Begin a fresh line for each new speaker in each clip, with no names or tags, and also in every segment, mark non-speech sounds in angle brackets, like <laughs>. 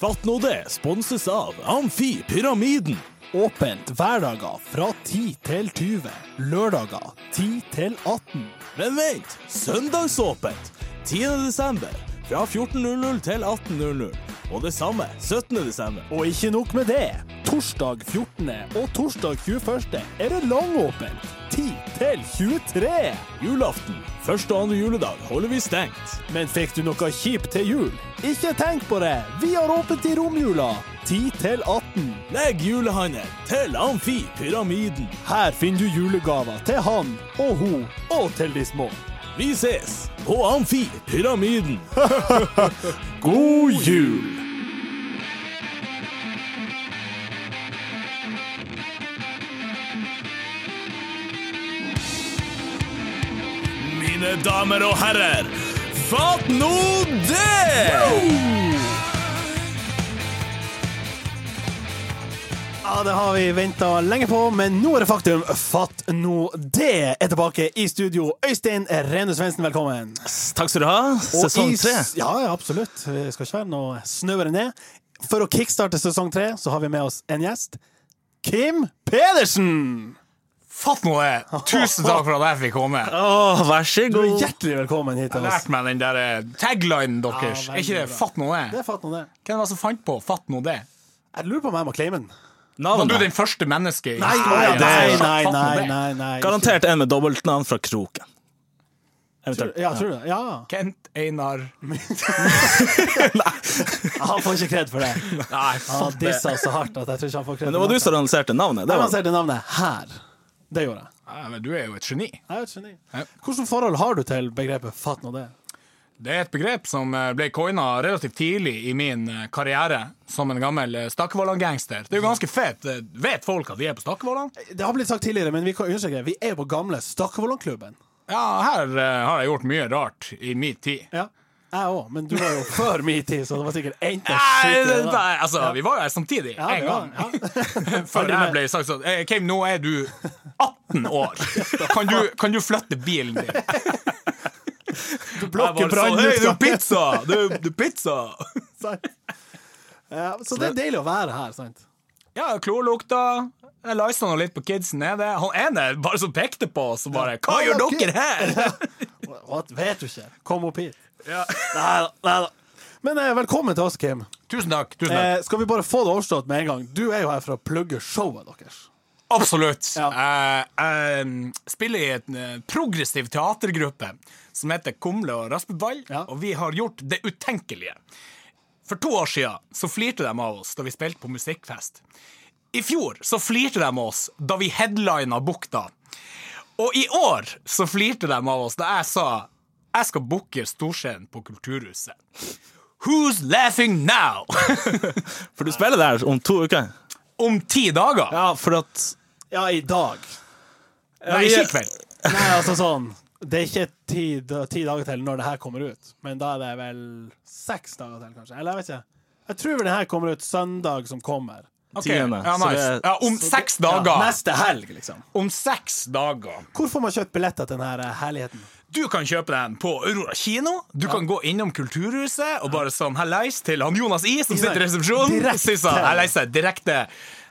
Fatt nå det sponses av Amfi Pyramiden.
Åpent hverdager fra 10 til 20. Lørdager 10 til 18.
Men vent, søndagsåpent 10. desember fra 14.00 til 18.00. Og det samme 17. desember.
Og ikke nok med det. Torsdag 14. og torsdag 21. er det langåpent. 10 til 23.
Julaften, første og andre juledag, holder vi stengt.
Men fikk du noe kjipt til jul? Ikke tenk på det. Vi har åpent i romjula. 10 til 18.
Legg julehandel til Amfi Pyramiden.
Her finner du julegaver til han og hun og til de små.
Vi ses på Amfi
<laughs>
Pyramiden.
God jul!
Mine damer og herrer, fatt nå det!
Ja, det har vi venta lenge på, men nå er det faktum. Fatt nå det! Er tilbake i studio. Øystein Rene Svendsen, velkommen.
Takk skal du ha.
Og i- Ja, ja, absolutt. Vi skal ikke være noe snauere enn det. For å kickstarte sesong tre, så har vi med oss en gjest. Kim Pedersen!
Fatt nå det! Tusen takk for at jeg fikk komme. Jeg
vær så
Du er hjertelig velkommen hit til
har
oss.
lært meg den der eh, taglinen deres.
Ja, veldig
er ikke det
bra.
'fatt nå
Det
det'?
er fatt nå det.
Hvem var det som fant på 'fatt nå det'?
Jeg lurer på om jeg må claime den.
Var
Navnet.
du den første mennesket i
Nei,
historien?
nei,
som sa
nei,
«fatt nå
nei,
det»?
nei, nei.
Garantert en med dobbeltnavn fra Kroken. Eventuelt.
Ja, tror du det? Ja.
<laughs> Kent Einar
Han får ikke kred for det.
Nei,
Han har
fatt det.
dissa så hardt at jeg tror ikke han får kred.
Men det var du som annonserte navnet. Det
Jeg
var.
lanserte navnet her. Det gjorde jeg.
Nei, men du er jo et geni.
Jeg er et geni.
Ja.
Hvilket forhold har du til begrepet 'fatt nå det'?
Det er et begrep som eh, ble coina relativt tidlig i min eh, karriere som en gammel eh, Stakkevollan-gangster. Det er jo ganske fett. Eh, Vet folk at de er på Stakkevollan?
Det har blitt sagt tidligere, men vi kan understreke vi er jo på gamle Stakkevollan-klubben.
Ja, her eh, har jeg gjort mye rart i min tid.
Ja. Jeg òg, men du var <laughs> jo før min tid, så det var sikkert enten
Nei,
skitt eller
nei, altså, vi var jo her samtidig,
Ja,
en
vi var-
gang. <laughs>
<laughs>
Før jeg ble sagt sånn «Eh, Kim, nå er du
<laughs>
18 år. Kan du, kan du flytte bilen din? sånn, Du
blokker brannen
Hei,
ut,
det er
da.»
jo pizza! Det er, det er pizza!
sant. Ja, så det er deilig å være her, sant?
Ja, klorlukta. Jeg lista nå litt på kidsen nede. Han ene bare som pekte på oss og bare Hva
<laughs> Ja,
gjør
ok.»
dere her?!
What, vet du ikke? Kom opp hit.
Ja.
<laughs> Nei da. Nei da. Men eh, velkommen til oss, Kim.
Tusen takk. tusen takk
Eh, skal vi bare få det overstått med en gang? Du er jo her for å plugge showet deres.
Absolutt.
Ja.
Jeg, jeg spiller i en eh, progressiv teatergruppe som heter Kumle og Raspeball,
Ja.
og vi har gjort det utenkelige. For to år siden så flirte de av oss da vi spilte på musikkfest. I fjor så flirte de av oss da vi headlina Bukta. Og i år så flirte de av oss da jeg sa jeg skal booke Storscenen på Kulturhuset. Who's laughing now? <laughs>
For du spiller der om to uker.
Om ti dager?
Ja, for at
Ja, i dag.
Nei,
vi-
ikke i kveld.
Nei, altså sånn Det er ikke ti, da- ti dager til når det her kommer ut, men da er det vel seks dager til, kanskje. Eller jeg vet ikke. Jeg tror vel det her kommer ut søndag som kommer.
Ok,
Tiende,
Ja,
så
nice.
det-
ja, om seks dager.
Ja, neste helg, liksom.
Om seks dager.
Hvor får man kjøpt billetter til denne herligheten?
Du kan kjøpe den på Aurora kino. Du kan gå innom Kulturhuset og bare sånn hallais til han Jonas I som sitter i resepsjonen.
Direkte.
Sier sånn, «Hallais, direkte.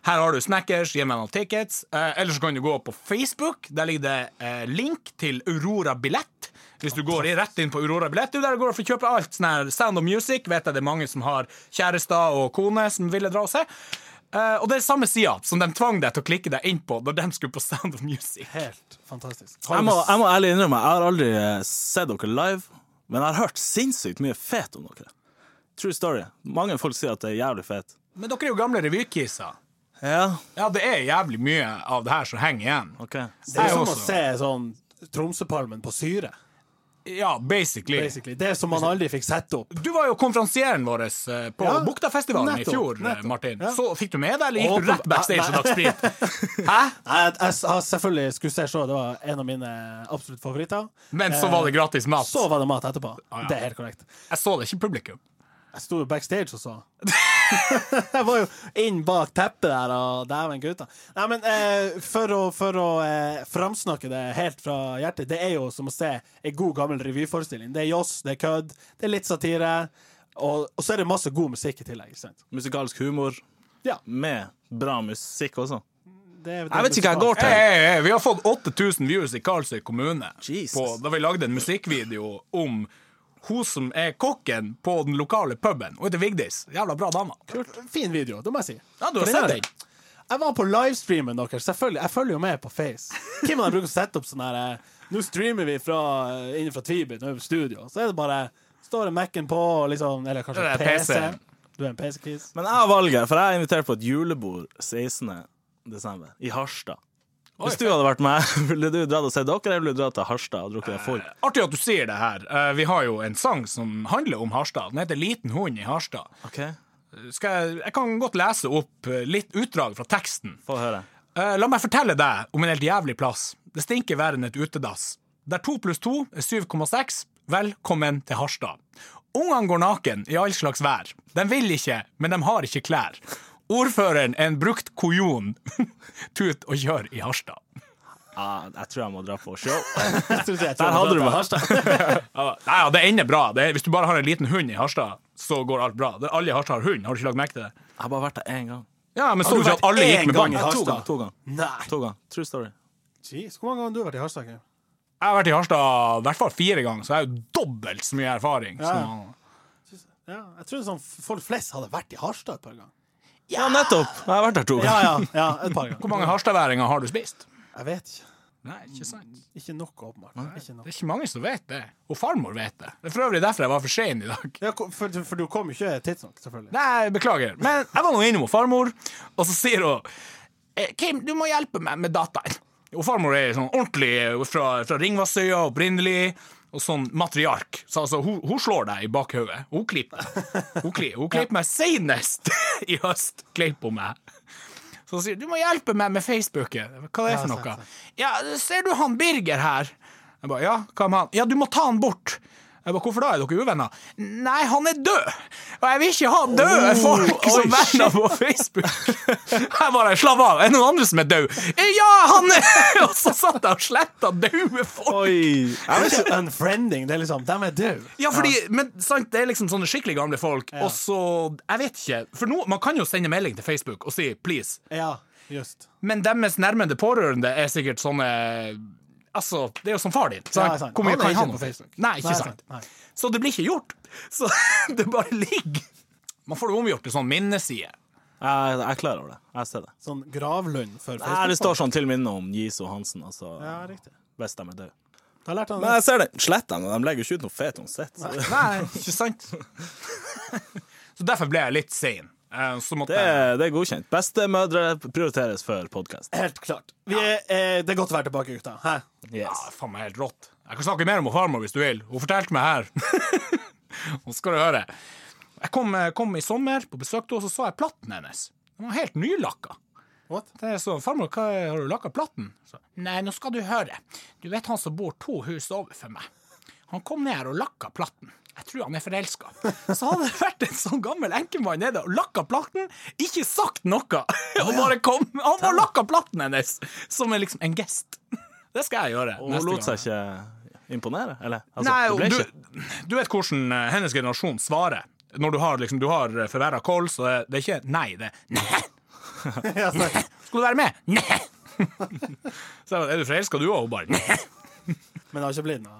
Her har du Snackers, gi meg noen tickets. Eh, ellers kan du gå på Facebook. Der ligger det eh, link til Aurora Billett. Hvis du går i- rett inn på Aurora Billett, det er jo der du går og får kjøpe alt. Sånn her Sound of Music vet jeg det er mange som har kjærester og kone som ville dra og se. Eh, og det er samme sida som de tvang deg til å klikke deg inn på når de skulle på Sound of Music.
Helt fantastisk.
jeg må, jeg må ærlig innrømme, jeg har aldri eh, sett dere live, men jeg har hørt sinnssykt mye fet om dere. True story. Mange folk sier at det er jævlig fet.
Men dere er jo gamle revykisser.
Ja,
Ja, det er jævlig mye av det her som henger igjen.
OK.
Det er
Jeg
som å
også.
se sånn Tromsøpalmen på syre,
Ja, basically.
basically. Det som man aldri fikk sett opp.
Du var jo konferansieren vår eh, på
Ja,
Buktafestivalen i
nettopp,
fjor, eh,
nettopp.
Martin.
Ja.
Så fikk du med deg, eller gikk
Åpen-
du rett backstage og drakk
<laughs>
sprit? Hæ?
Jeg, jeg, jeg selvfølgelig skulle se showet, det var en av mine absolutt favoritter.
Men
Eh,
Ah, så var det gratis mat.
Så var det mat etterpå. Det er helt korrekt.
Jeg så det ikke i publikum.
Jeg sto jo backstage og så. <laughs> jeg var jo inn bak teppet der, og dæven gutta. Nei, men eh, for å, for å eh, framsnakke det helt fra hjertet, det er jo som å se ei god, gammel revyforestilling. Det er joss, det er kødd, det er litt satire. Og, og så er det masse god musikk i tillegg. Ikke sant?
Musikalsk humor
Ja.
med bra musikk også.
Det er- det er
Jeg vet ikke hva jeg går
Hey,
til.
hey, hey, Eh, vi har fått 8000 views i Karlsøy kommune
Jesus.
på, da vi lagde en musikkvideo om hun som er kokken på den lokale puben. Hun heter Vigdis. Jævla bra dame.
Kult. Eh, Fin video, det må jeg si.
Ja, du har
For
sett
er-
den.
Jeg var på livestreamen deres. Selvfølgelig, Jeg følger jo med på Face. Kim og jeg bruker å sette opp sånn her eh, Nå streamer vi fra, eh, inne fra Tviby, nå er vi på studio. Så er det bare Står det Mac-en på, og liksom, eller kanskje
Det er
PC-en.
PC.
Du er en PC-kis. <laughs>
Men jeg har valget, for jeg er invitert på et julebord 16. desember i Harstad. Hvis du hadde vært meg, <laughs> ville du dratt og sett dere, eller ville du dratt til Harstad og drukket deg full?
Artig at du sier det her. Eh, Vi har jo en sang som handler om Harstad. Den heter 'Liten hund i Harstad'.
OK,
Skal jeg, jeg kan godt lese opp eh, litt utdrag fra teksten.
få høre.
Eh, La meg fortelle deg om en helt jævlig plass. Det stinker verre enn et utedass. Der to pluss to er 7,6. Velkommen til Harstad. Ungene går naken i all slags vær. De vil ikke, men de har ikke klær. Ordføreren er en brukt kujon. <laughs> Tut og kjør i Harstad.
Ah, jeg tror <laughs> jeg må dra på show.
Der
Der hadde du meg.
<laughs>
Ja, Nei, ja, det ender bra. Det er, hvis du bare har en liten hund i Harstad, så går alt bra. Det, alle i Harstad har hund. Har du ikke lagt merke til det?
Jeg har bare vært der én gang.
Ja, men så
du
du ikke
vært
at alle
én
gikk med
gang
bånd?
i
Jeg
Ja, to
Harstad?
ganger. To ganger.
Nei.
To ganger. True story.
Jeez, hvor mange ganger har du vært i Harstad? Kim?
har vært i Harstad i hvert fall fire ganger, så jeg har jo dobbelt så mye erfaring.
Ja.
Så.
Ja, jeg tror sånn folk flest hadde vært i Harstad et par ganger.
Ja, nettopp! Jeg har vært der to
<laughs> Ja,
ganger.
ja, ja, et par ganger.
Hvor mange harstadværinger har du spist?
Jeg vet ikke.
Nei, ikke sant.
Ikke nok, åpenbart. Ikke nok.
Det er ikke mange som vet det. Og farmor vet det. Det er for øvrig derfor jeg var for sein i dag.
Ja, ko- for, for du kom jo ikke tidsnok, selvfølgelig.
Nei, beklager. Men jeg var nå innom farmor, og så sier hun eh, Kim, du må hjelpe meg med dataen. Og farmor er sånn ordentlig eh, fra, fra Ringvassøya opprinnelig, og sånn matriark. Så altså, hun, hun slår deg i bakhodet. Hun klipper. Hun klipper, hun klipper meg senest <laughs> i høst. Kleip hun meg. Så hun sier du må hjelpe meg med Facebooken. Hva er det for
sant,
noe? Ja, ser du han Birger her? Jeg ba, ja, hva med han? Ja, du må ta han bort. Jeg ba, Hvorfor da? Er dere uvenner? Nei, han er død! Og jeg vil ikke ha døde folk som venner på Facebook! <laughs> Jeg bare slapp av. Er det noen andre som er død? Ja, han er <laughs> Og så satt jeg og sletta døde
<laughs>
folk!
Oi!
Det er ikke unfriending, det er liksom De er døde.
Ja, fordi, men sant, det er liksom sånne skikkelig gamle folk, og så Jeg vet ikke. For nå, man kan jo sende melding til Facebook og si 'please'.
Ja, just.
Men deres nærmende pårørende er sikkert sånne Altså, det er jo som far din.
Ja,
sant?
sant.
Hvor mye
Han er
kan
ikke
han
på
om
Facebook.
Nei, ikke
Nei,
sant.
sant. Nei.
Så det blir ikke gjort. <laughs> Så det bare ligger. Man får det omgjort til sånn minneside.
Jeg, jeg er klar over det. Jeg ser det.
Sånn gravlund
Nei,
for
det
Facebook.
står sånn til minne om Jiso Hansen, altså.
Ja, riktig.
Hvis de er døde.
Da lærte han
Men
det.
jeg ser det. Slett dem. De legger jo ikke ut noe fet uansett. så
<laughs>
det-
Nei, ikke sant? Så derfor ble jeg litt sein. Eh, Så måtte
Det er, det er godkjent. Bestemødre prioriteres før podkast.
Helt klart. Vi er, eh, det er godt å være tilbake, gutta. Hæ?
Yes.
jeg Faen meg helt rått. Jeg kan snakke mer om farmor hvis du vil. Hun fortalte meg her. <laughs> Nå skal du høre. Jeg kom, eh, kom i sommer på besøk til henne, og så så jeg platten hennes. Den var helt nylakka.
What? <laughs>
Det er så, farmor, hva er, har du lakka platten? Så, Nei, nå skal du høre. Du vet han som bor to hus over for meg. Han kom ned her og lakka platten. Jeg tror han er forelska. Så hadde det vært en sånn gammel enkemann nede og lakka platten, ikke sagt noe, og bare kom. Han bare lakka platten hennes, som er liksom en gest. Det skal jeg gjøre.
Og hun lot seg ikke imponere, eller? Altså,
Nei,
det
og
ble ikke.
du, du vet hvordan eh, hennes generasjon svarer. Når du har, liksom, du har forverra kols, og det er ikke nei, det er nei.
Ja, sant.
Skal du være med? Nei! <laughs> Så jeg bare, er du forelska du òg? Hun bare nei.
Men det har ikke blitt noe.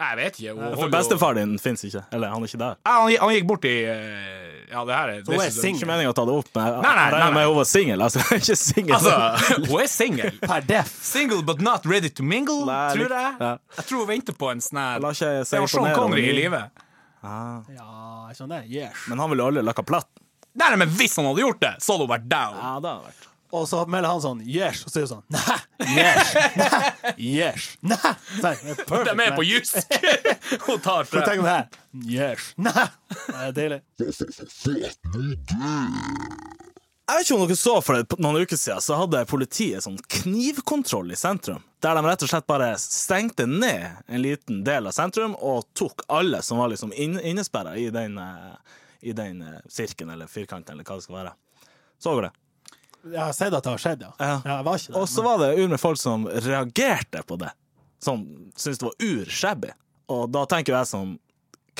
Jeg vet ikke. Hun
For
holder jo-
bestefar din fins ikke. Eller, han er ikke der.
Ja, han, gikk- han gikk bort i eh, Ja, det her er
hun er
this is-
Ikke
singel.
meningen å ta det opp, men jeg
Nei, nei,
jeg regner
nei,
med
nei.
hun var singel. Altså, <laughs> ikke singel.
Altså, hun er singel.
Per def.
Single but not ready to mingle,
Nei,
tror jeg.
litt- ja.
Jeg tror hun venter på en sånn her
La ikke jeg se
Det var Sean
imponere om
Connery i
min-
livet.
Ja, jeg skjønner. Yes.
Men han ville aldri lakka platt.
Nei, nei, men hvis han hadde gjort det, så hadde hun vært down.
Ja, det har vært.
Og så melder han sånn yes, og så sier hun sånn nei, yes, nei, yes, nei. Nei, det er
De
perfect,
er på jysk! <laughs> hun tar
Så
frem.
tenk om det her. Yes, nei. Det er deilig.
Jeg vet ikke om dere så for et, noen uker siden, så hadde politiet sånn knivkontroll i sentrum. Der de rett og slett bare stengte ned en liten del av sentrum og tok alle som var liksom inn, innesperra i den, eh, i den eh, sirken eller firkanten eller hva det skal være. Så dere det?
Jeg har sett at det har skjedd, ja.
Ja.
ja jeg var ikke der.
Og så var det ur med folk som reagerte på det. Som syntes det var ur shabby. Og da tenker jeg som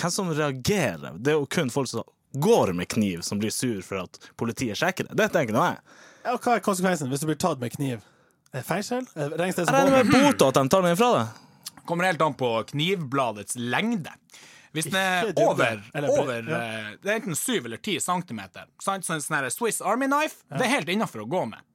hvem som reagerer? Det er jo kun folk som går med kniv, som blir sur for at politiet sjekker det. Det tenker nå jeg.
Ja, hva er konsekvensen hvis du blir tatt med kniv? Er det fengsel? Eh, Er det Regnes det
Jeg
som
regner
vold?
hmm.
med bota at de tar den fra deg.
Kommer helt an på knivbladets lengde. Hvis den er
Ikke dybde,
over,
eller bre-
over
ja.
eh, Det er enten 7 eller 10 cm. Sant? Så en sånn her Swiss Army Knife Det er helt innafor å gå med.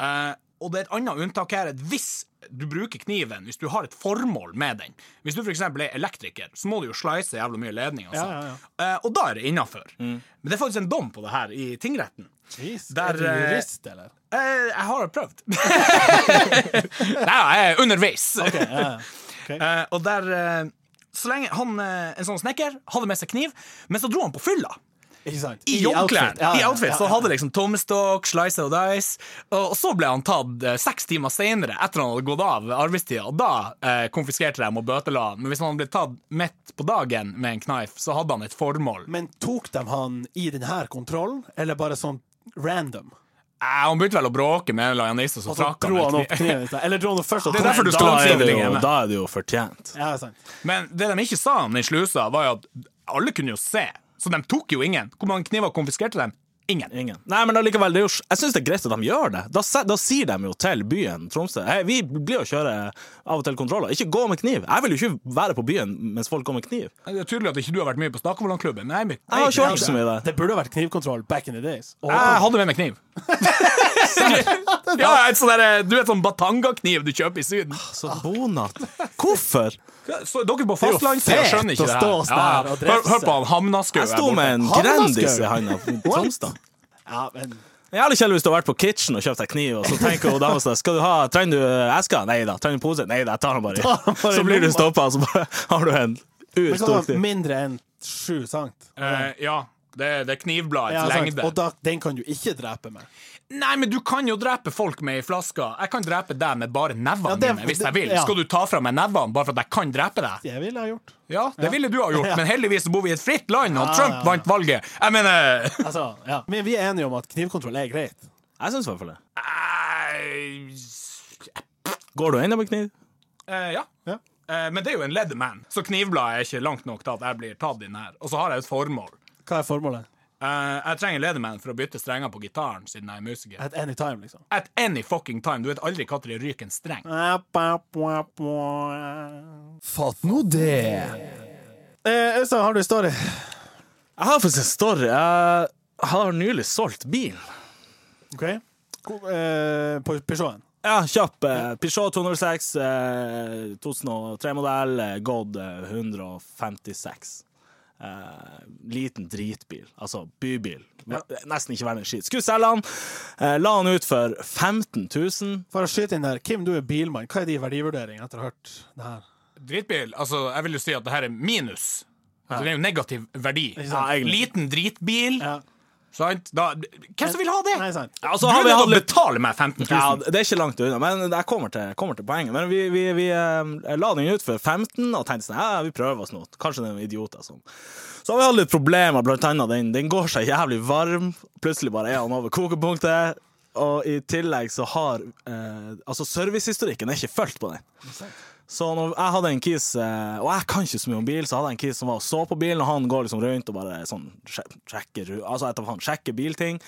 Eh, og det er et annet unntak her. at Hvis du bruker kniven, hvis du har et formål med den Hvis du f.eks. er elektriker, så må du jo slice jævla mye ledning. Og,
Ja,
sånn.
ja, Mm. ja.
Eh, og da er det innafor. Men det er faktisk en dom på det her i tingretten.
Jeez, er
Der,
du
eh,
jurist, eller?
Eh, jeg har prøvd. <laughs>
<laughs>
Nei, jeg er underveis.
Ja.
Eh, og der eh, Så lenge han, eh, en sånn snekker, hadde med seg kniv, men så dro han på fylla.
Ikke sant?
<laughs> I joggklær.
Ja,
I
ja,
outfit.
ja,
Så
ja.
han hadde liksom tommestokk, slicer og dice. Og, og så ble han tatt eh, seks timer seinere, etter han hadde gått av arbeidstida. Og da eh, konfiskerte de og bøtela han. Men hvis han hadde blitt tatt midt på dagen med en knife, så hadde han et formål.
Men tok de han i denne kontrollen, eller bare sånn random?
Eh, han begynte vel å bråke med en eller annen nisse,
Og
så
så
trakk
dro
han
han
en
opp
kniv.
kniven. Eller dro han opp først og
Det er
tok
derfor du
den.
skal
Da
ha
er det
knivling
jo,
hjemme.
da er det jo fortjent.
Ja, sant.
<laughs> Men det de ikke sa om den slusa, var jo at alle kunne jo se. Så de tok jo ingen. Hvor mange kniver konfiskerte de? Ingen.
Ingen. Nei, men allikevel, det er jo, jeg syns det er greit at de gjør det. Da, se- da sier de jo til byen Tromsø Hei, vi blir å kjøre av og til kontroller. Ikke gå med kniv! Jeg vil jo ikke være på byen mens folk går med kniv.
Det er tydelig at ikke du har vært mye på Stakkevollan-klubben. men Jeg,
Jeg har ikke vært så mye der.
Det burde vært knivkontroll back in the days. Og
Ah, Jeg hadde med meg
<laughs>
kniv. ja, et sånn der, du vet sånn batangakniv du kjøper i Syden.
Så bonat. Hvorfor?
Så dere på
jo
fastlandssida
fett
skjønner ikke
å
det
stå
her. Ja,
der og
hør,
dresse.
hør på han Hamnaskau.
Jeg sto med en
Han var
Grandis i
skau.
handa på Tromsdal.
ja, men
Jævlig kjedelig hvis du har vært på Kitchen og kjøpt deg kniv, og så tenker hun dama sånn Skal du ha Trenger du eska? Nei da. Trenger du pose? Nei da, jeg tar <laughs> den bare
Ta den
i.
bare i
Så blir du
lomma.
stoppa, og så bare har du en
Men hva
urstor
var
kniv.
mindre enn sju sankt?
Eh, ja, det, er- det er knivbladets
Ja, sant.
lengde.
Og da, den kan du ikke drepe med.
Nei, men du kan jo drepe folk med ei flaske. Jeg kan drepe deg med bare nevene
Ja, det-
mine hvis jeg vil.
det- ja.
Skal du ta fra meg nevene bare for at jeg kan drepe deg?
Det ville jeg ha gjort.
Ja, det ville du ha gjort,
Ja.
men heldigvis så bor vi i et fritt land, og
Ja,
Trump
ja, ja.
vant valget. Jeg mener
Altså, ja. Men vi er enige om at knivkontroll er greit.
Jeg syns i hvert fall det.
eh,
Går du ennå med kniv?
eh, Ja.
Ja.
Eh, men det er jo en leather man, så knivbladet er ikke langt nok til at jeg blir tatt inn her. Og så har jeg et formål.
Hva er formålet?
Eh, jeg trenger leatherman for å bytte strenger på gitaren, siden jeg er musiker.
At any time, liksom.
At any fucking time. Du vet aldri når det ryker en streng.
Fatt nå det! Eh, Øystein, har du en story?
Jeg har faktisk en story. Jeg har nylig solgt bil.
OK? Hvor- Eh, på Peugeoten?
Ja, kjapp. eh, Peugeot 206, eh, 2003-modell, eh, gått eh, 156. Eh, liten dritbil, altså bybil. Nesten ikke verdt en skit. Skulle selge den. Eh, la den ut for 15 000.
For å skyte inn der, Kim, du er bilmann. Hva er din verdivurdering etter å ha hørt det her?
Dritbil. Altså, jeg vil jo si at det her er minus. Så det er jo negativ verdi.
sant?
Ja, egentlig. Liten dritbil.
Ja.
Sant? Da, hvem som vil ha det?
Nei, sant?
Ja,
Så har vi hatt betale meg 15 000.
Ja, det er ikke langt unna, men jeg kommer til, jeg kommer til poenget. Men vi, vi, vi eh, la den ut for 15 og tenkte sånn, ja, vi prøver oss nå. Kanskje det er noen idioter som Så har vi hatt litt problemer, blant annet den, den går seg jævlig varm. Plutselig bare er han over kokepunktet. Og i tillegg så har eh, Altså, servicehistorikken er ikke fulgt på den. Så når jeg hadde en kis, eh, og jeg kan ikke så mye om bil, så hadde jeg en kis som var og så på bilen, og han går liksom rundt og bare sånn sjek- sjekker ru- Altså, etter han sjekker bilting.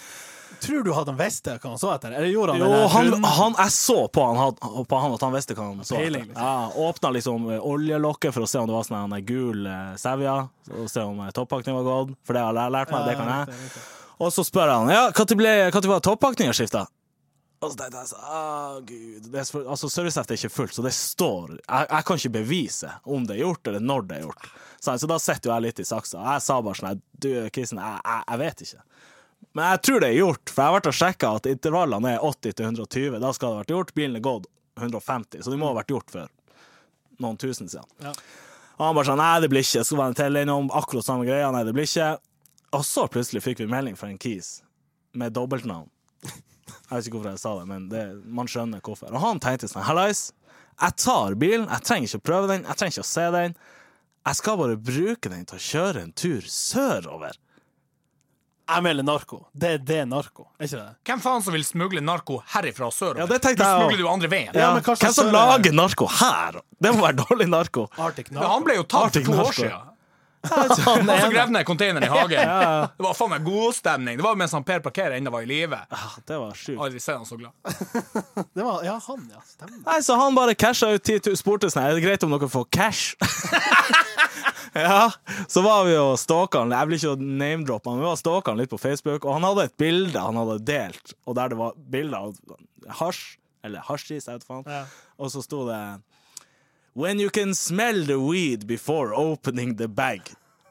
Tror du hadde han visst det, hva han så etter? Eller gjorde han
Jo,
det? der
han,
runden?
han, jeg så på han, had- på han at han visste hva han så.
Peiling,
etter.
liksom.
Ja, åpna liksom eh, oljelokket for å se om det var sånn her, en gul eh, sevja, og se om eh, toppakningen var gått, for det har jeg lært meg, det kan
Ja,
jeg.
riktig, riktig.
Og så spør jeg han ja, når ble, når var toppakningen skifta? Og så tenkte jeg sånn Å, gud. Det er så, altså, serviceheftet er ikke fullt, så det står jeg, jeg kan ikke bevise om det er gjort, eller når det er gjort. Så, så da sitter jo jeg litt i saksa. Og jeg sa bare sånn «Nei, Du, Kristen, jeg, jeg, jeg vet ikke. Men jeg tror det er gjort, for jeg har vært og sjekka at intervallene er 80 til 120. Da skal det ha vært gjort. Bilen er gått 150, så det må ha vært gjort for noen tusen siden.
Ja.
Og han bare sånn Nei, det blir ikke. Skal være en til innom. Akkurat samme greia. Nei, det blir ikke. Og så plutselig fikk vi melding fra en kis med dobbeltnavn. Jeg vet ikke hvorfor jeg sa det, men det, man skjønner hvorfor. Og han tenkte sånn Hallais, jeg tar bilen. Jeg trenger ikke å prøve den. Jeg trenger ikke å se den. Jeg skal bare bruke den til å kjøre en tur sørover.
Jeg melder narko. Det er det narko, er ikke det?
Hvem faen som vil smugle narko herifra og sørover?
Ja, det tenkte
du
jeg også.
smugler det jo andre veien.
Ja,
Ja,
men hva
Hvem
slags
som
sør er
lager narko her? Det må være dårlig narko.
Arctic
Men Han ble jo tatt for
Arctic
to år
narko.
siden.
Han
Og så
ene.
grev ned containeren i hagen. Det var faen meg god stemning. Det var mens han Per Parker ennå var i live.
Ah, Det var sjukt.
Aldri sett han så glad.
Det var, ja, han, ja. Stemmer.
Nei, så han bare casha ut 10 000, spurte sånn, er det greit om dere får cash? <laughs> ja, så var vi og stalka han, jeg vil ikke name-droppe han, men vi var stalka han litt på Facebook, og han hadde et bilde han hadde delt, og der det var bilder av hasj, eller hasjis, jeg vet faen,
Ja.
og så sto det When you can smell the weed before opening the bag.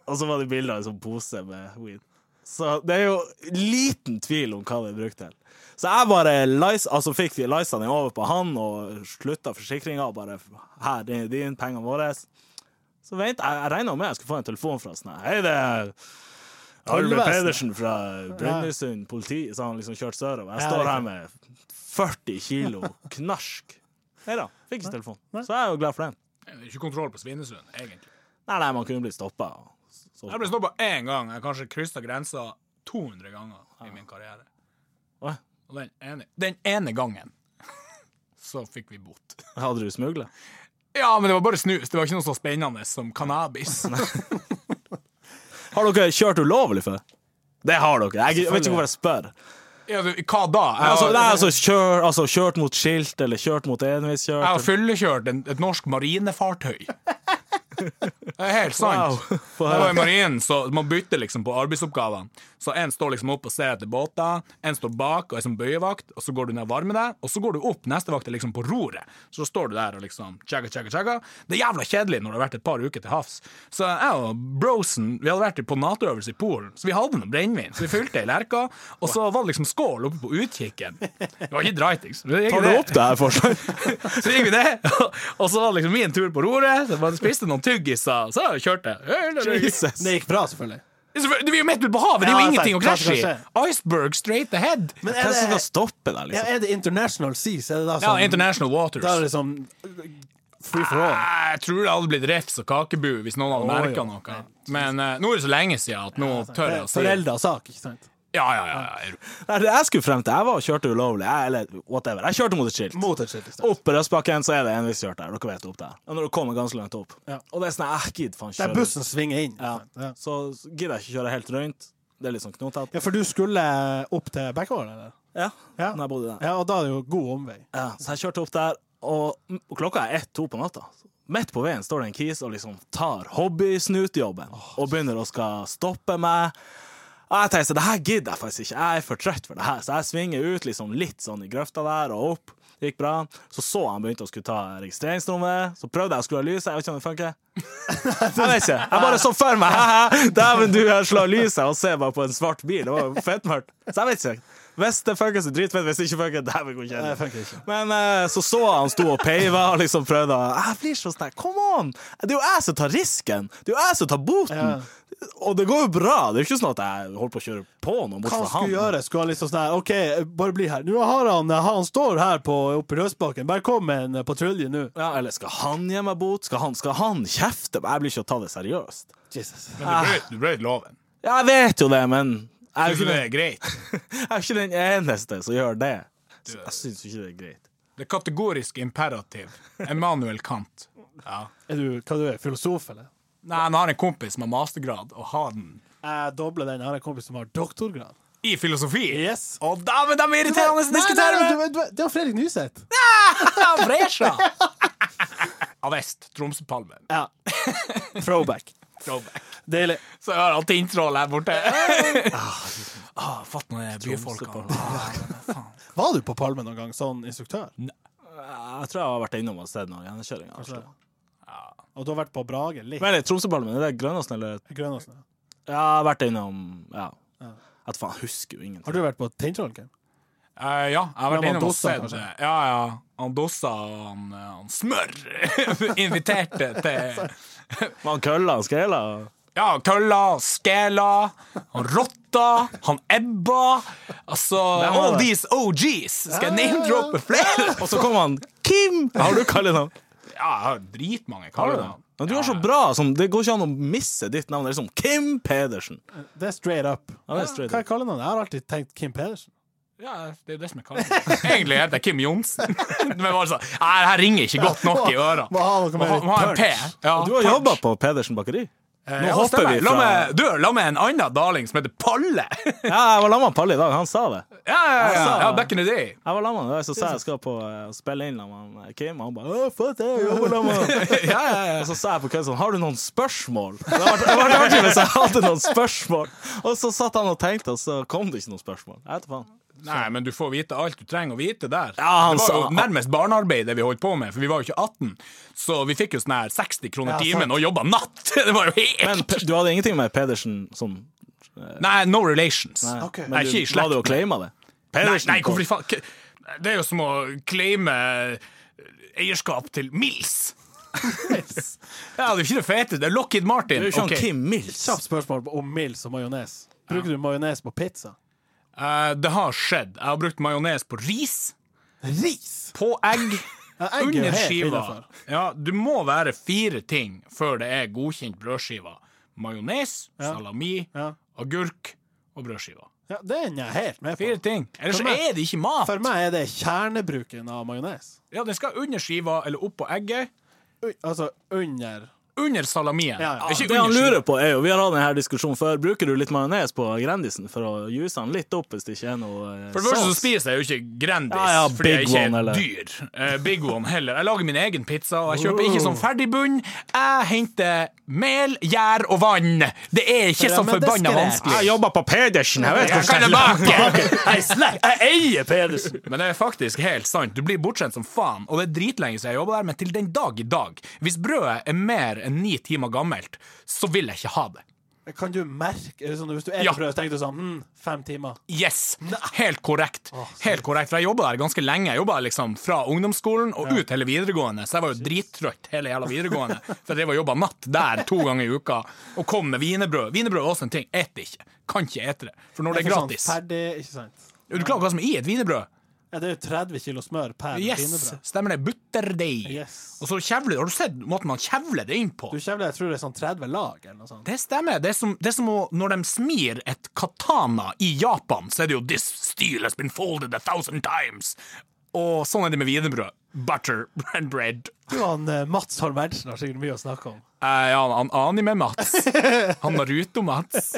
Og så var det bilder av en sånn pose med weed. Så det er jo liten tvil om hva det er brukt til. Så jeg bare lice, altså fikk licene over på han og slutta forsikringa. og Bare her, det er din, pengene våre. Så vent, jeg, jeg regna med jeg skulle få en telefon fra sånn her, Hei, det er Arve
Tollvesenet.
Pedersen fra Brønnøysund politi. Så han liksom kjørte sørover. Jeg
Ja,
står
riktig.
her med 40 kilo knask. Nei da, fikk ikke telefon. Så jeg er jo glad for den.
Det er Ikke kontroll på Svinesund, egentlig.
Nei, nei, man kunne blitt stoppa.
Jeg ble stoppa én gang. Jeg har kanskje kryssa grensa 200 ganger i min karriere.
Hadde
Og den ene, den ene gangen <laughs> så fikk vi bot.
du smugla?
Ja, men det var bare snus. Det var ikke noe så spennende som cannabis.
Har dere kjørt ulovlig før? Det har dere. Jeg, vet ikke hvorfor jeg spør.
Ja, du, hva da? Jeg,
Altså,
har-
nei, altså, kjør, altså kjørt mot skilt, eller kjørt mot enveiskjørt.
jeg har fyllekjørt en, et norsk <laughs> marinefartøy. Det er helt sant.
Wow. Få
Det var i
høre.
marinen, så man bytter liksom på arbeidsoppgavene. Så en står liksom opp og ser etter båter, en står bak og er som bøyevakt, og så går du ned og varmer deg, og så går du opp, neste vakt er liksom på roret. Så står du der og liksom tjekka, tjekka, tjekka. Det er jævla kjedelig når det har vært et par uker til havs. Så jeg og brosen, vi hadde vært på Nato-øvelse i Polen, så vi hadde noe brennevin, så vi fylte ei lerke, og så var det liksom skål oppe på utkikken. Det var ikke dritings. men det gikk
Tar du
det.
opp det her forslaget?
Så gikk vi det, <laughs> og så var det liksom min tur på roret, så man spiste noen tyggiser, så kjørte jeg.
Jesus.
Det gikk bra, selvfølgelig.
Selvfølgelig, Du er jo midt ute på havet, det er
Ja,
jo
det er
ingenting å
sant.
krasje i.
Kanskje,
Iceberg straight ahead.
Men
Hvem
er
som skal
det,
stoppe deg,
ja,
liksom?
er det International Seas? Er det da
Ja,
sånn,
International Waters.
da er det sånn free for all?
Nei, Jeg tror det hadde blitt refs og kakebu hvis noen hadde merket
ja.
noe. Men eh, nå er det så lenge siden at nå tør jeg å si
Forelda sak, ikke sant?
Ja, ja, ja. ja.
Nei, det jeg skulle frem til, jeg var og kjørte ulovlig. Jeg, eller whatever. Jeg kjørte mot et skilt.
Mot et skilt. ikke sant?
Opp i Røstbakken så er det enveiskjørt der. Dere vet opp der. Og når du kommer ganske langt opp.
Ja.
Og det er sånn, jeg gidder faen
Der
kjøre.
bussen svinger inn. ikke sant? Ja.
Så gidder jeg ikke kjøre helt rundt. Det er litt sånn knotete.
Ja, for du skulle opp til Bekkevål, eller?
Ja.
Ja.
Når jeg bodde der.
Ja, og da er det jo god omvei.
Ja, så jeg kjørte opp der, og og klokka er ett-to på natta. Midt på veien står det en kis og liksom tar hobbysnutjobben og begynner å skal stoppe meg. Og jeg tenker så det her gidder jeg faktisk ikke, jeg er for trøtt for det her. Så jeg svinger ut liksom litt sånn i grøfta der og opp. Det gikk bra. Så så han begynte å skulle ta registreringsnummeret. Så prøvde jeg å skru av lyset. Jeg vet ikke om det
<laughs>
funker. Jeg vet ikke. Jeg bare så for meg «Haha, Dæven, du, jeg slår lyset og ser bare på en svart bil. Det var jo fettmørkt. Så jeg vet ikke. Hvis det funker, så dritfett. Hvis det ikke funker, dæven går
Det
kjedelig.
funker ikke.
Men eh, så så jeg han sto og peiva og liksom prøvde å Jeg blir så sterk. Come on! Det er jo jeg som tar risken! Det er jo jeg som tar boten! Og det går jo bra. Det er jo ikke sånn at jeg holder på å kjøre på noen bort
Hva
fra
han
han.
skulle gjøre? Skulle han liksom sånn her OK, bare bli her. Nå har han Han står her på, oppe i Røsbakken. Bare kom med en patrulje nå.
Ja, eller skal han gi meg bot? Skal han, skal han kjefte? meg? Jeg blir ikke å ta det seriøst.
Jesus.
Men du brøt- du brøt loven.
Ja, jeg vet jo det, men jeg er
Syns
jo
du det
ikke,
er greit?
jeg er jo ikke den <laughs> eneste som gjør det. Så jeg syns ikke det er greit.
Det kategoriske imperativ. Emanuel Kant. Ja.
Er du hva du er, filosof, eller?
Nei, han har en kompis med mastergrad, og har den
Jeg dobler den. Jeg har en kompis som har doktorgrad.
i filosofi.
Yes.
Å, dæven, de er irriterende å diskutere med!
du- du- Det var Fredrik Nyseth.
Fresha!
<laughs>
Avest. Tromsøpalmen.
<laughs> Ja. Throwback.
Throwback.
Deilig.
Så jeg har alltid introen her borte. <laughs> ah, Fatt nå det byfolkene.
Var du på Palmen noen gang, sånn instruktør?
Jeg tror jeg har vært innom et sted nå. Gjennomkjøringa.
Og du har vært på Brage litt?
Men er Tromsøpalmen, er det Grønåsen eller
Grønåsen. ja.
Ja, jeg har vært innom Ja. At faen, jeg husker jo ingenting.
Har du vært på Teintrollen, Kim?
Eh, ja, jeg har vært
Ja,
innom og
Dossa,
sett det.
kanskje.
Ja, ja. Han Dossa og han, eh, han Smør <laughs> inviterte
<laughs>
til
Man kølla og skreila.
Ja, Kølla, Skela, han Rotta, han Ebba Altså
var
All
det.
these OGs! Skal jeg name-droppe flere?
Og så kom han Kim! Har du kallenavn?
Ja, jeg har dritmange kallenavn.
Men du er så bra. Sånn, det går ikke an å misse ditt navn. Det er liksom Kim Pedersen.
Det er straight up.
Ja, det er straight
Hva
up.
jeg kaller han? Jeg har alltid tenkt Kim Pedersen.
Ja, det er jo det som er kallet. <laughs> Egentlig heter jeg Kim Johnsen. <laughs> Men bare sånn Nei, det her ringer ikke godt nok i øra.
Må ha noe mer
Må ha en P.
punch.
Ja,
Og du har
punch.
jobba på Pedersen bakeri.
Eh,
Nå
ja,
hopper
stemmer.
vi fra-
La meg, du, la meg en annen darling som heter Palle. <laughs> ja,
Ja, jeg var lamma med Palle i dag. Han sa det.
ja, ja, ja,
Altså.
ja, back in the day.
Jeg var lamma da jeg så sa jeg skal på eh, å spille inn sammen med Kim. og Han bare «Å, fuck det, jeg jobber lamma.
<laughs> Ja, ja, ja.
Og så sa jeg på kødd sånn Har du noen spørsmål? Det var, det var artig hvis jeg hadde noen spørsmål. Og så satt han og tenkte, og så kom det ikke noen spørsmål. Jeg vet da faen.
Nei, men du får vite alt du trenger å vite der.
Ja, han
det var
sa-
jo nærmest barnearbeid det vi holdt på med, for vi var jo ikke 18. Så vi fikk jo sånn her 60
Ja,
kroner timen
sant.
og jobba natt! <laughs> Det var jo helt
Men P- du hadde ingenting med Pedersen som
Nei, no relations.
Nei,
Ok.
men
Nei, ikke i
du
slekt.
la det å claima det.
Nei,
Pedersen
nei,
kom.
hvorfor i faen k- Det er jo som å claime eh, eierskap til Mills. ja, det er jo ikke det fete. Det er sånn Lockheed
Det
Martin.
er jo ikke han
Ok.
Kim Mills.
Kjapt spørsmål om mils og majones. Bruker du majones på pizza?
Eh, det har skjedd. Jeg har brukt majones på ris,
Ris!
på egg,
Ja, egg er jo
under
helt
skiva.
innenfor.
Ja, du må være fire ting før det er godkjent brødskive. Majones, salami,
Ja.
agurk og brødskiva.
Ja, den er jeg helt med på.
Fire ting. Ellers
For meg-
er det ikke mat.
For meg er det kjernebruken av majones.
Ja, Den skal under skiva eller oppå egget.
U- Altså under
Under salamien.
Ja, ja.
Ikke
Ah, Det han
under skiva.
lurer på er jo, Vi har hatt denne diskusjonen før. Bruker du litt majones på Grandisen for å juse han litt opp hvis det ikke er noe eh,
For det første så
saus?
spiser jeg jo ikke Grandis,
Ja, ja,
fordi jeg
Big
ikke er
One, eller-
dyr. Eh, big One heller. Jeg lager min egen pizza, og jeg kjøper ikke
Oh.
sånn ferdigbunn. Jeg henter mel, gjær og vann. Det er ikke
Ja,
så
men det skal
forbanna
jeg.
vanskelig.
jobber på Pedersen, jeg
Jeg kan
<laughs>
det bake!
Jeg, eier Pedersen!
Men det er faktisk helt sant. Du blir bortskjemt som faen, og det er dritlenge siden jeg jobba der, men til den dag i dag, hvis brødet er mer enn ni timer gammelt, så vil jeg ikke ha det.
Kan du merke er det sånn, Hvis du er
Ja.
prøvd, tenker du sånn hm, Fem timer.
Yes! Helt korrekt. Helt korrekt, for Jeg jobba der ganske lenge. Jeg jobba liksom fra ungdomsskolen og ut hele videregående, så jeg var jo drittrøtt hele jævla videregående. For jeg drev og jobba natt der to ganger i uka og kom med wienerbrød. Wienerbrød er også en ting. Et det ikke. Kan ikke ete det. For når det er
For sånn
gratis
ferdig, ikke sant?
Er du klar over hva som er i et wienerbrød?
Ja, det er jo 30 kilo smør per
Yes!
wienerbrød.
Stemmer det. Butterdeig.
Yes.
Og så kjevler Har du sett måten man kjevler det inn på?
Du kjevler, jeg tror det er sånn 30 lag eller noe sånt.
Det stemmer. Det er som, det er som å, når de smir et katana i Japan, så er det jo 'This steel has been folded a thousand times'. Og sånn er det med wienerbrød. Butter and bread.
Du, han, eh, Mats Holmerdsen har sikkert mye å snakke om.
Eh, ja, han Anime-Mats. Han Naruto-Mats.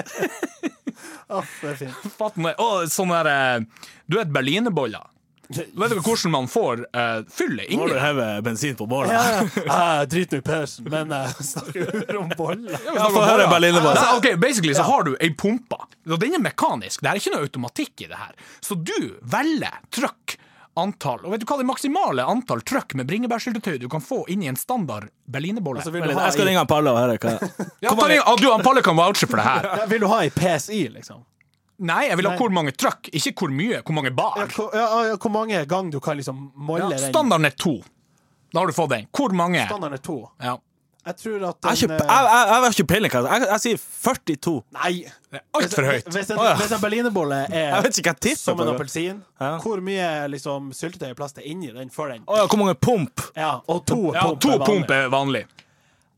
Aff, det er fint.
Fatt meg. Å, sånn der eh, Du vet berlinerboller? Vet dere hvordan man får uh,
Nå
fyllet inni?
har du hevet bensin på bålet.
Ja, ja. Jeg driter Ah, nå i Pedersen, men jeg snakker jo om boller.
Ja, Få høre berlinerboller.
Nei, ok, Basically så har du ei pumpe, og den er mekanisk. Det er ikke noe automatikk i det her. Så du velger trykk, antall, og vet du hva det maksimale antall trykk med bringebærsyltetøy du kan få inn i en standard berlinerbolle?
Altså, vil,
Vent
du
litt,
ha
Jeg skal
i,
ringe han Palle og høre hva
Ja, ta ring- ah, du, han Palle kan vouche for det her.
ja, vil du ha i PSI, liksom?
Nei, jeg vil ha
Nei.
hvor mange trykk, ikke hvor mye, hvor mange
Ja,
bar.
hvor, ja, ja, hvor mange ganger du kan liksom
Ja,
molle den?
standarden er to. Da har du fått den. Hvor mange?
Standarden er to.
Ja.
Jeg tror at
Jeg har ikke-
den, eh,
jeg- jeg- jeg har ikke peiling. hva- Jeg, jeg sier 42.
Nei!
Det er Altfor høyt.
Hvis en,
Å, ja.
hvis en berlinerbolle
Jeg
er
vet ikke hva jeg tipper
som en
på.
appelsin,
Ja.
hvor mye liksom, syltetøy er plass til inni den før den?
Å ja, hvor mange pump?
Ja, og to
Ja,
pump
to
er vanlig.
pump er vanlig.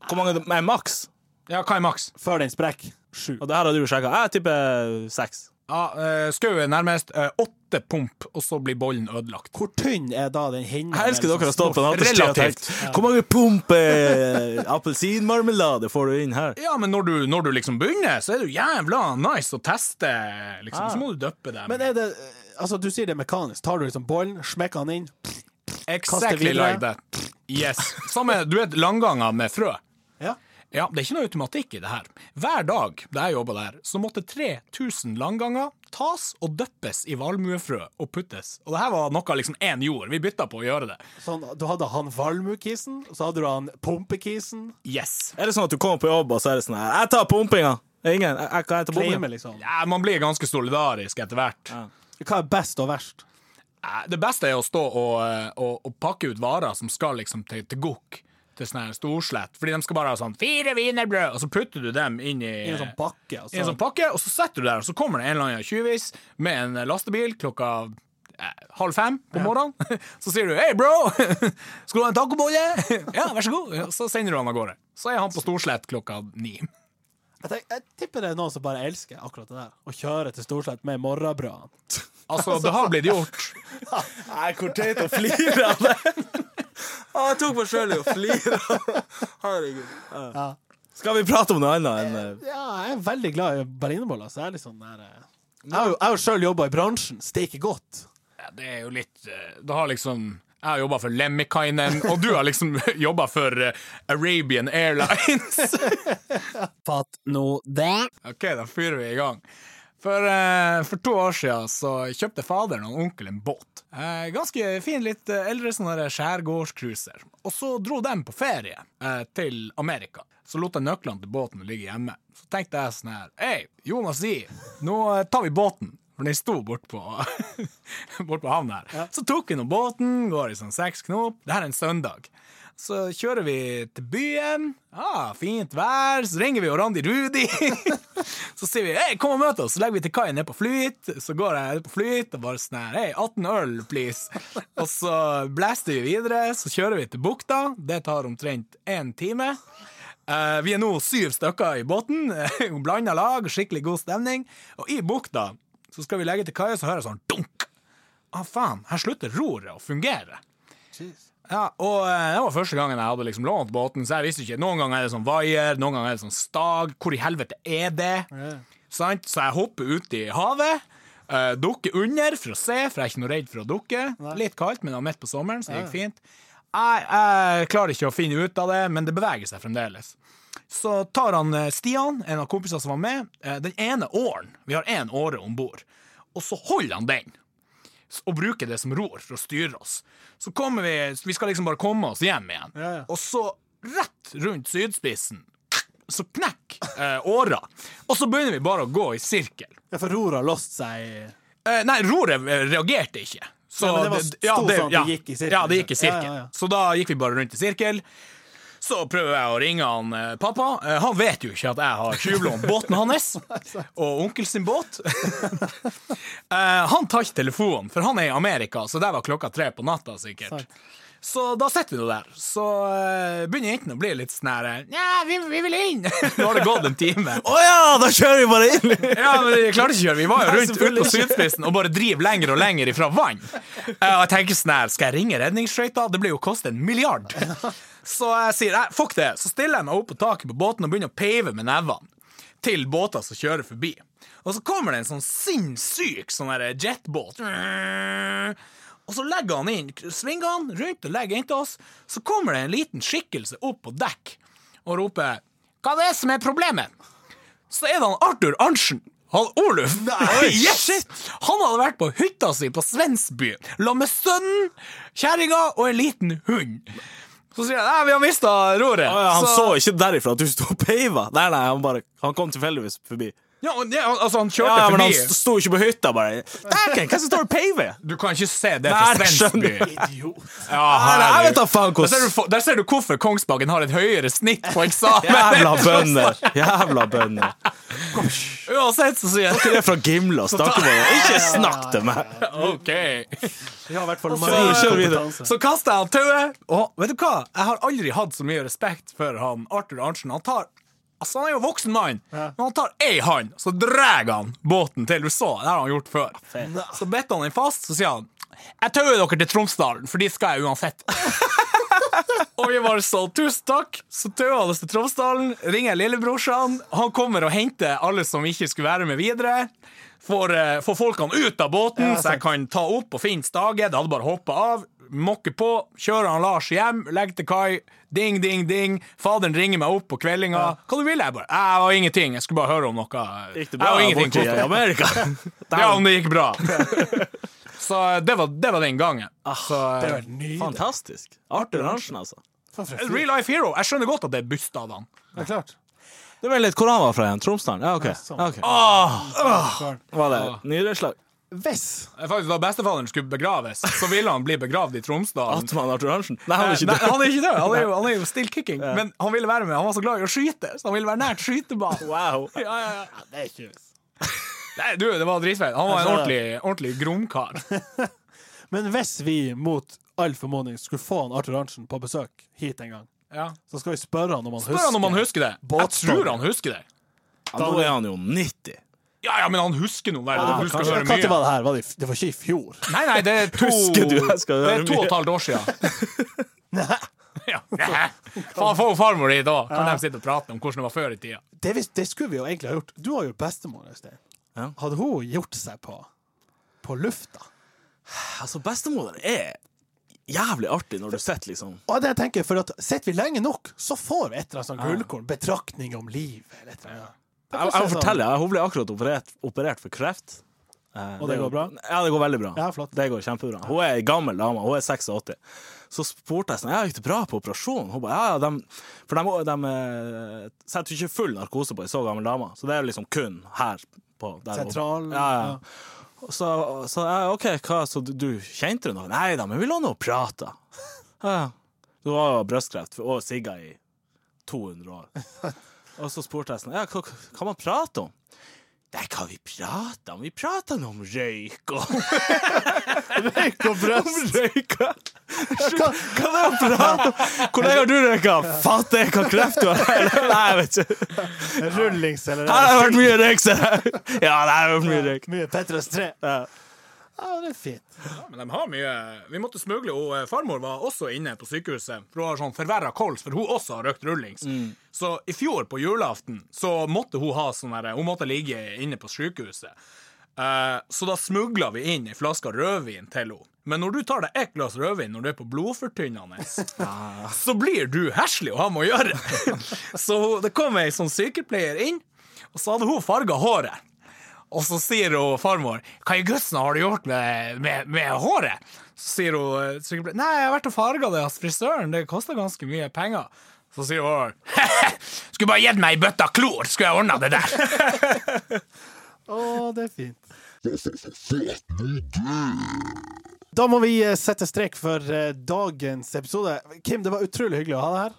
Hvor mange er maks?
Ja, hva er maks?
før den sprekker. Sju.
Og det her har du sjekka. Jeg tipper seks.
Ja, eh, Skau er nærmest eh, åtte pump, og så blir bollen ødelagt.
Hvor tynn er da den hinnen?
Jeg elsker dere å stå på en
Relativt.
alterstid og tenke Hvor mange pump eh, appelsinmarmelade får du inn her?
Ja, men når du, når du liksom begynner, så er det jo jævla nice å teste, liksom. Så må du døppe dem.
Ah. Men er det Altså, du sier det er mekanisk. Tar du liksom bollen, smekker den inn kaster
exactly
videre.
like that. Yes. Samme, du vet, langganger med frø.
Ja.
Ja, det er ikke noe automatikk i det her. Hver dag da jeg jobba der, så måtte 3000 langganger tas og døppes i valmuefrø og puttes. Og det her var noe liksom én jord. Vi bytta på å gjøre det.
Sånn, du hadde han valmuekisen, og så hadde du han pumpekisen.
Yes.
Er det sånn at du kommer på jobb, og så er det sånn her Jeg tar pumpinga! Ingen. Jeg, jeg kan hete
Claimer,
pumpinga.
liksom.
Ja, man blir ganske solidarisk etter hvert.
Hva er best og verst?
Eh, Det beste er å stå og, eh, og, og pakke ut varer som skal liksom til, til gokk. Til sånn her storslett. Fordi de skal bare ha sånn fire wienerbrød, og så putter du dem inn i
I en sånn bakke, altså.
Eh, i en sånn pakke, og så setter du der, og så kommer det en eller annen tjuvis med en lastebil klokka eh, halv fem på morgenen. <laughs> Så sier du 'hei, bro, <laughs> skal du ha en tacobolle?' <laughs> 'Ja, vær så god.' Og så sender du han av gårde. Så er han på Storslett klokka ni.
jeg, tenk, jeg tipper det er noen som bare elsker akkurat det der. Å kjøre til Storslett med morrabrødene.
Altså, det har blitt gjort.
Nei, hvor teit <laughs> å flire av <laughs> Ah, det! Å, jeg tok meg sjøl i å flire. Herregud. Ja. Skal vi prate om noe annet enn eh,
Ja, jeg er veldig glad i berlinerboller. Så jeg er litt sånn der eh, Jeg har jo- jeg har jo sjøl jobba i bransjen. Steker godt.
Ja, det er jo litt eh, Det har liksom jeg har jobba for Lemmikainen, og du har liksom <laughs> jobba for eh, Arabian Airlines. <laughs>
Fatt nå det.
OK, da fyrer vi i gang. For, eh, for to år siden så kjøpte faderen og onkel en båt. Eh, ganske fin, litt eh, eldre sånn der skjærgårdscruiser. Og så dro de på ferie eh, til Amerika. Så lot jeg nøklene til båten ligge hjemme. Så tenkte jeg sånn her Hei, Jonas sier, nå eh, tar vi båten. For den sto bort på, <laughs> bort på havna her. Så tok vi nå båten, går i sånn seks knop. Det her er en søndag. Så kjører vi til byen. Ah, fint vær. Så ringer vi og Randi Rudi. <laughs> så sier vi hei, kom og møt oss. Så legger vi til kai ned på Flyt. Så går jeg ned på Flyt og bare sånn her hei, 18 øl, please. og så blaster vi videre. Så kjører vi til bukta. Det tar omtrent én time. Eh, vi er nå syv stykker i båten. Blanda lag, skikkelig god stemning. Og i bukta så skal vi legge til kai, og så hører jeg sånn dunk. Ah, faen, her slutter roret å fungere. Ja, og eh, det var første gangen jeg hadde liksom lånt båten, så jeg visste ikke. Noen ganger er det sånn vaier, noen ganger er det sånn stag. Hvor i helvete er det? Sant? Så jeg hopper ut i havet, eh, dukker under for å se, for jeg er ikke noe redd for å dukke. Litt kaldt, men det var midt på sommeren, så det gikk fint. Jeg, jeg klarer ikke å finne ut av det, men det beveger seg fremdeles. Så tar han eh, Stian, en av kompisene som var med, eh, den ene åren. Vi har én åre om bord. Og så holder han den og bruke det som ror for å styre oss. Så kommer vi Vi skal liksom bare komme oss hjem igjen.
Ja, ja.
Og så, rett rundt sydspissen, så knekker eh, åra. Og så begynner vi bare å gå i sirkel.
Ja, for roret har låst seg i
Eh, nei, roret eh, reagerte ikke. Så
Ja, men det var sto sånn at det gikk i sirkel,
Ja, det gikk i
liksom. Ja,
sirkel.
ja, ja.
Så da gikk vi bare rundt i sirkel. Så prøver jeg å ringe han eh, pappa. Eh, han vet jo ikke at jeg har tjuvlånt
<laughs>
båten hans og onkel sin båt. <laughs> Eh, han tar ikke telefonen, for han er i Amerika, så der var klokka tre på natta sikkert. Så da sitter vi nå der. Så eh, begynner jentene å bli litt sånn her eh, Nja, vi, vi vil inn! <laughs> Nå har det gått en time.
Å ja, da kjører vi bare inn!
Ja, men vi klarte ikke å kjøre. Vi var jo
Nei,
rundt ut på sydspissen og bare driver lenger og lenger ifra vann. Eh, Og jeg tenker sånn her, skal jeg ringe redningsskøyta? Det blir jo koste en milliard. Så jeg sier nei, fuck det. Så stiller jeg meg opp på taket på båten og begynner å peive med nevene til båter som kjører forbi. Og så kommer det en sånn sinnssyk sånn der jetbåt. Og så legger han inn, svinger han rundt og legger inntil oss. Så kommer det en liten skikkelse opp på dekk og roper 'Hva det er som er problemet?' så er det han Arthur Arntzen. Han Oluf. <laughs> yes! Han hadde vært på hytta si på Svensby la med sønnen, kjerringa og en liten hund. Så sier han nei, vi har mista roret.
Å ja, han så ikke derifra at du sto og peiva. Nei, nei, han, bare, han kom tilfeldigvis forbi.
ja, og- ja, altså, han kjørte
Ja, ja, men han st-
forbi.
sto ikke på hytta, bare. Dæken, hvem som står og peiver?
Du kan ikke se det
Nei,
fra
jeg
Svensby.
skjønner.
Ja,
Nei, nei, jeg vet da
herregud.
faen
der, ser du,
hvordan
for- der ser du hvorfor Kongsbakken har et høyere snitt på <laughs> eksamen.
Jævla bønder! Jævla bønder.
Uansett så sier jeg
Dere er fra Gimla, snakker med dere. Ikke snakk til meg!
OK.
Vi har i hvert fall
så kjører vi videre.
kompetanse.
Så kaster jeg han tauet, og vet du hva? Jeg har aldri hatt så mye respekt for han Arthur Arntzen. Han tar Altså, han er jo voksen mann, men han tar ei hånd, så drar han båten til USA. Det har han gjort før. Så bitter han den fast, så sier han Jeg tauer dere til Tromsdalen, for de skal jeg uansett. og vi bare sånn, tusen takk. Så tauer han oss til Tromsdalen, ringer lillebrorsan. Han kommer og henter alle som ikke skulle være med videre. Får, eh, får folkene ut av båten, så jeg kan ta opp og finne staget. Det hadde bare hoppa av. Mokke på, kjører han Lars hjem, legger til kai. Ding, ding, ding. Faderen ringer meg opp på kveldinga. Hva du vil jeg? bare, Jeg var ingenting. Jeg skulle bare høre om noe.
Gikk det
jeg
bra
har ingenting
borti i
koster.
Amerika?
<laughs> Ja, om det gikk
<laughs>
bra. Så det var, det var den gangen. Så, eh,
Det er nydelig.
Ah, Fantastisk. Arthur Arntzen, altså.
Faen, for en fyr.
Real Life Hero. Jeg skjønner godt at det er busta av han.
Det er klart.
Du vet litt hvor han var fra igjen? Tromsdalen? Ja, OK.
sånn.
Ja, ok. Ah.
Karen.
Var det nyreslag?
Hvis
Det er Faktisk, da bestefaderen skulle begraves, så ville han bli begravd i Tromsdalen.
Atman Arthur Arntzen? Nei, han er ikke
Eh, Nei,
død.
han er ikke død. Han er jo,
<laughs>
han er jo still kicking. Men han ville være med. Han var så glad i å skyte, så han ville være nært
<laughs>
skytebanen.
Wow.
Ja, ja, ja.
Det er ikke
Nei, du, det var dritfett. Han
Altså-
var en
Jeg så
ordentlig, ordentlig gromkar.
<laughs>
Men hvis vi mot all formodning skulle få han Arthur Arntzen på besøk hit en gang,
Ja.
så skal vi spørre han om han
Spør han om han
husker.
husker det. Jeg
Båtstolen.
tror han husker det.
Ja, Nå er han jo 90.
Ja, ja, men han husker noe. Nei, du skal
Kanskje-
høre
Når
mye.
var det her? Var det, i f- det var ikke i fjor? <laughs>
<laughs>
Nei, nei, det er to,
Husker du, jeg skal
det
høre <laughs>
er to og
mye.
et halvt år siden. Ja. <laughs> Faen, få farmor hit òg! Kan de sitte og prate om hvordan det var før i tida?
Det, vis- det skulle vi jo egentlig ha gjort. Du har jo bestemor, Øystein.
Ja.
Hadde hun gjort seg på på lufta?
Altså, bestemoderen er jævlig artig når du sitter liksom
Og det jeg tenker, for at Sitter vi lenge nok, så får vi et eller annet sånn gullkorn. Betraktning om livet. Eller et eller annet.
Jeg, jeg
sånn?
forteller, jeg, hun ble akkurat operert, operert for kreft. Eh,
Og det går
jo-
bra?
Ja, det går veldig bra.
Ja, flott.
Det går kjempebra. Hun er ei gammel dame, hun er 86. Så spurte jeg sånn, ja, gikk det bra på operasjonen? Hun ba, ja, ja, dem- eh, for de, setter jo ikke full narkose på ei så gammel dame, så det er jo liksom kun her. På, der hun-
Sentral-
Ja, ja.
ja.
Så, så jeg, ok, hva, så du, du kjente du noe? Nei da, men vi lå nå og prata. <laughs> Ja. Du har jo brystkreft og sigga i 200 <laughs> år. Og så spurte jeg sånn, ja, hva hva kan man prate om? Det er hva vi prater om. Vi prater nå om røyk og <laughs> Røyk og <laughs> brøst. Røyka. Hva hva er det å prate om? Hvor lenge har du røyka? Fatter jeg hva kreft du har? Nei, jeg vet ikke.
sånn Rullings eller
Her har det vært mye røyk, ser jeg. Ja, det har vært mye røyk.
Mye Petrus 3.
Ja.
Ja, det er fint.
Ja, men de har mye Vi måtte smugle, og eh, farmor var også inne på sykehuset. For hun har sånn forverra kols, for hun også har røkt rullings. Så i fjor, på julaften, så måtte hun ha sånn derre Hun måtte ligge inne på sykehuset. Eh, så da smugla vi inn ei flaske rødvin til henne. Men når du tar deg ett glass rødvin når du er på blodfortynnende, så blir du heslig å ha med å gjøre. <laughs> så hun- det kom ei sånn sykepleier inn, og så hadde hun farga håret. Og så sier hun farmor Hva i gudsen har du gjort med, med, med håret? Så sier hun eh, sykepleier, Nei, jeg har vært og farga det hos frisøren. Det koster ganske mye penger. Så sier hun <laughs> Skulle bare gitt meg ei bøtte klor, skulle jeg ordna det der.
Å, det er fint. Da må vi eh, sette strek for eh, dagens episode. Kim, det var utrolig hyggelig å ha deg her.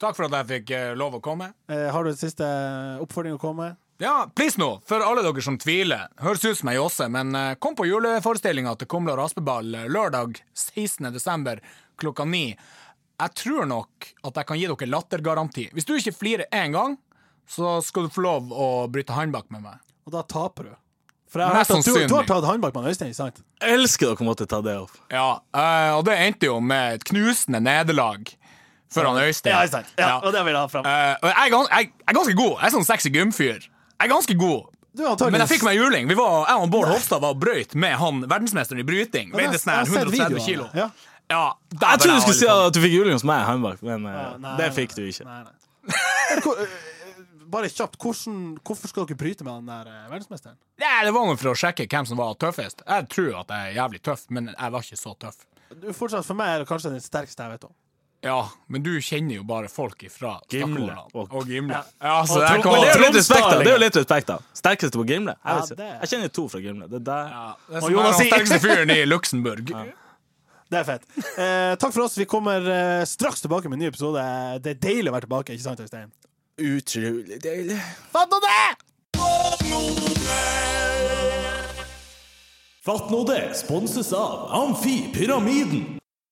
Takk for at jeg fikk eh, lov å komme.
Eh, Har du en siste eh, oppfordring å komme med?
Ja, please nå, for alle dere som tviler. Høres ut som ei jåse, men eh, kom på juleforestillinga til Kumla Raspeball eh, lørdag 16. desember klokka ni. Jeg tror nok at jeg kan gi dere lattergaranti. Hvis du ikke flirer én gang, så skal du få lov å bryte håndbak med meg.
Og da taper du. For jeg har
Mest
hørt at du, du
sannsynlig.
har tatt håndbak med Øystein, ikke sant?
Jeg elsker dere måtte ta det opp.
Ja, eh, og det endte jo med et knusende nederlag for han Øystein. Ja.
det vil jeg ha fram.
Eh, og jeg, er gans- jeg, jeg er ganske god. Jeg er sånn sexy gymfyr. Jeg er ganske god.
Du er antageligvis-
Men jeg fikk meg juling. Vi var, jeg og Bård Hofstad var og brøyt med han verdensmesteren i bryting.
jeg-
Veide sånn her
jeg har sett
130
videoene.
kilo.
Ja.
Ja,
Jeg liksom-
dæven,
trodde du skulle si
jeg liksom. var litt
at du fikk juling hos meg i håndbak, men eh,
nei,
det
nei,
fikk du ikke.
<laughs> Nei, nei. Hvor- eh, Bare kjapt, hvordan, hvorfor skal dere bryte med han der eh, verdensmesteren?
sånn. Nei, Det var noe for å sjekke hvem som var tøffest. Jeg tror at jeg er jævlig tøff, men jeg var ikke så tøff.
Du, fortsatt, for meg er det kanskje den sterkeste jeg vet om.
Ja, men du kjenner jo bare folk ifra
Gimle
Stakkevollan
og-
og Gimle. Ja, så
Og
jeg
Tro-
kan-
Men det er jo litt
Tromsdal,
respekt, da.
liksom.
Det er jo litt respekt, da. Sterkeste på Gimle? Jeg,
Ja,
vet ikke.
det er-
jeg kjenner to fra Gimle. Det er der.
Ja, det er
Og
som er
Jonas
den
sier-
sterkeste fyren i Luxembourg.
Det er fett. Eh, takk for oss. Vi kommer eh, straks tilbake med en ny episode. Det er deilig å være tilbake, ikke sant, Øystein?
Utrolig deilig.
Fatt nå det!
Fatt nå det sponses av Amfi Pyramiden.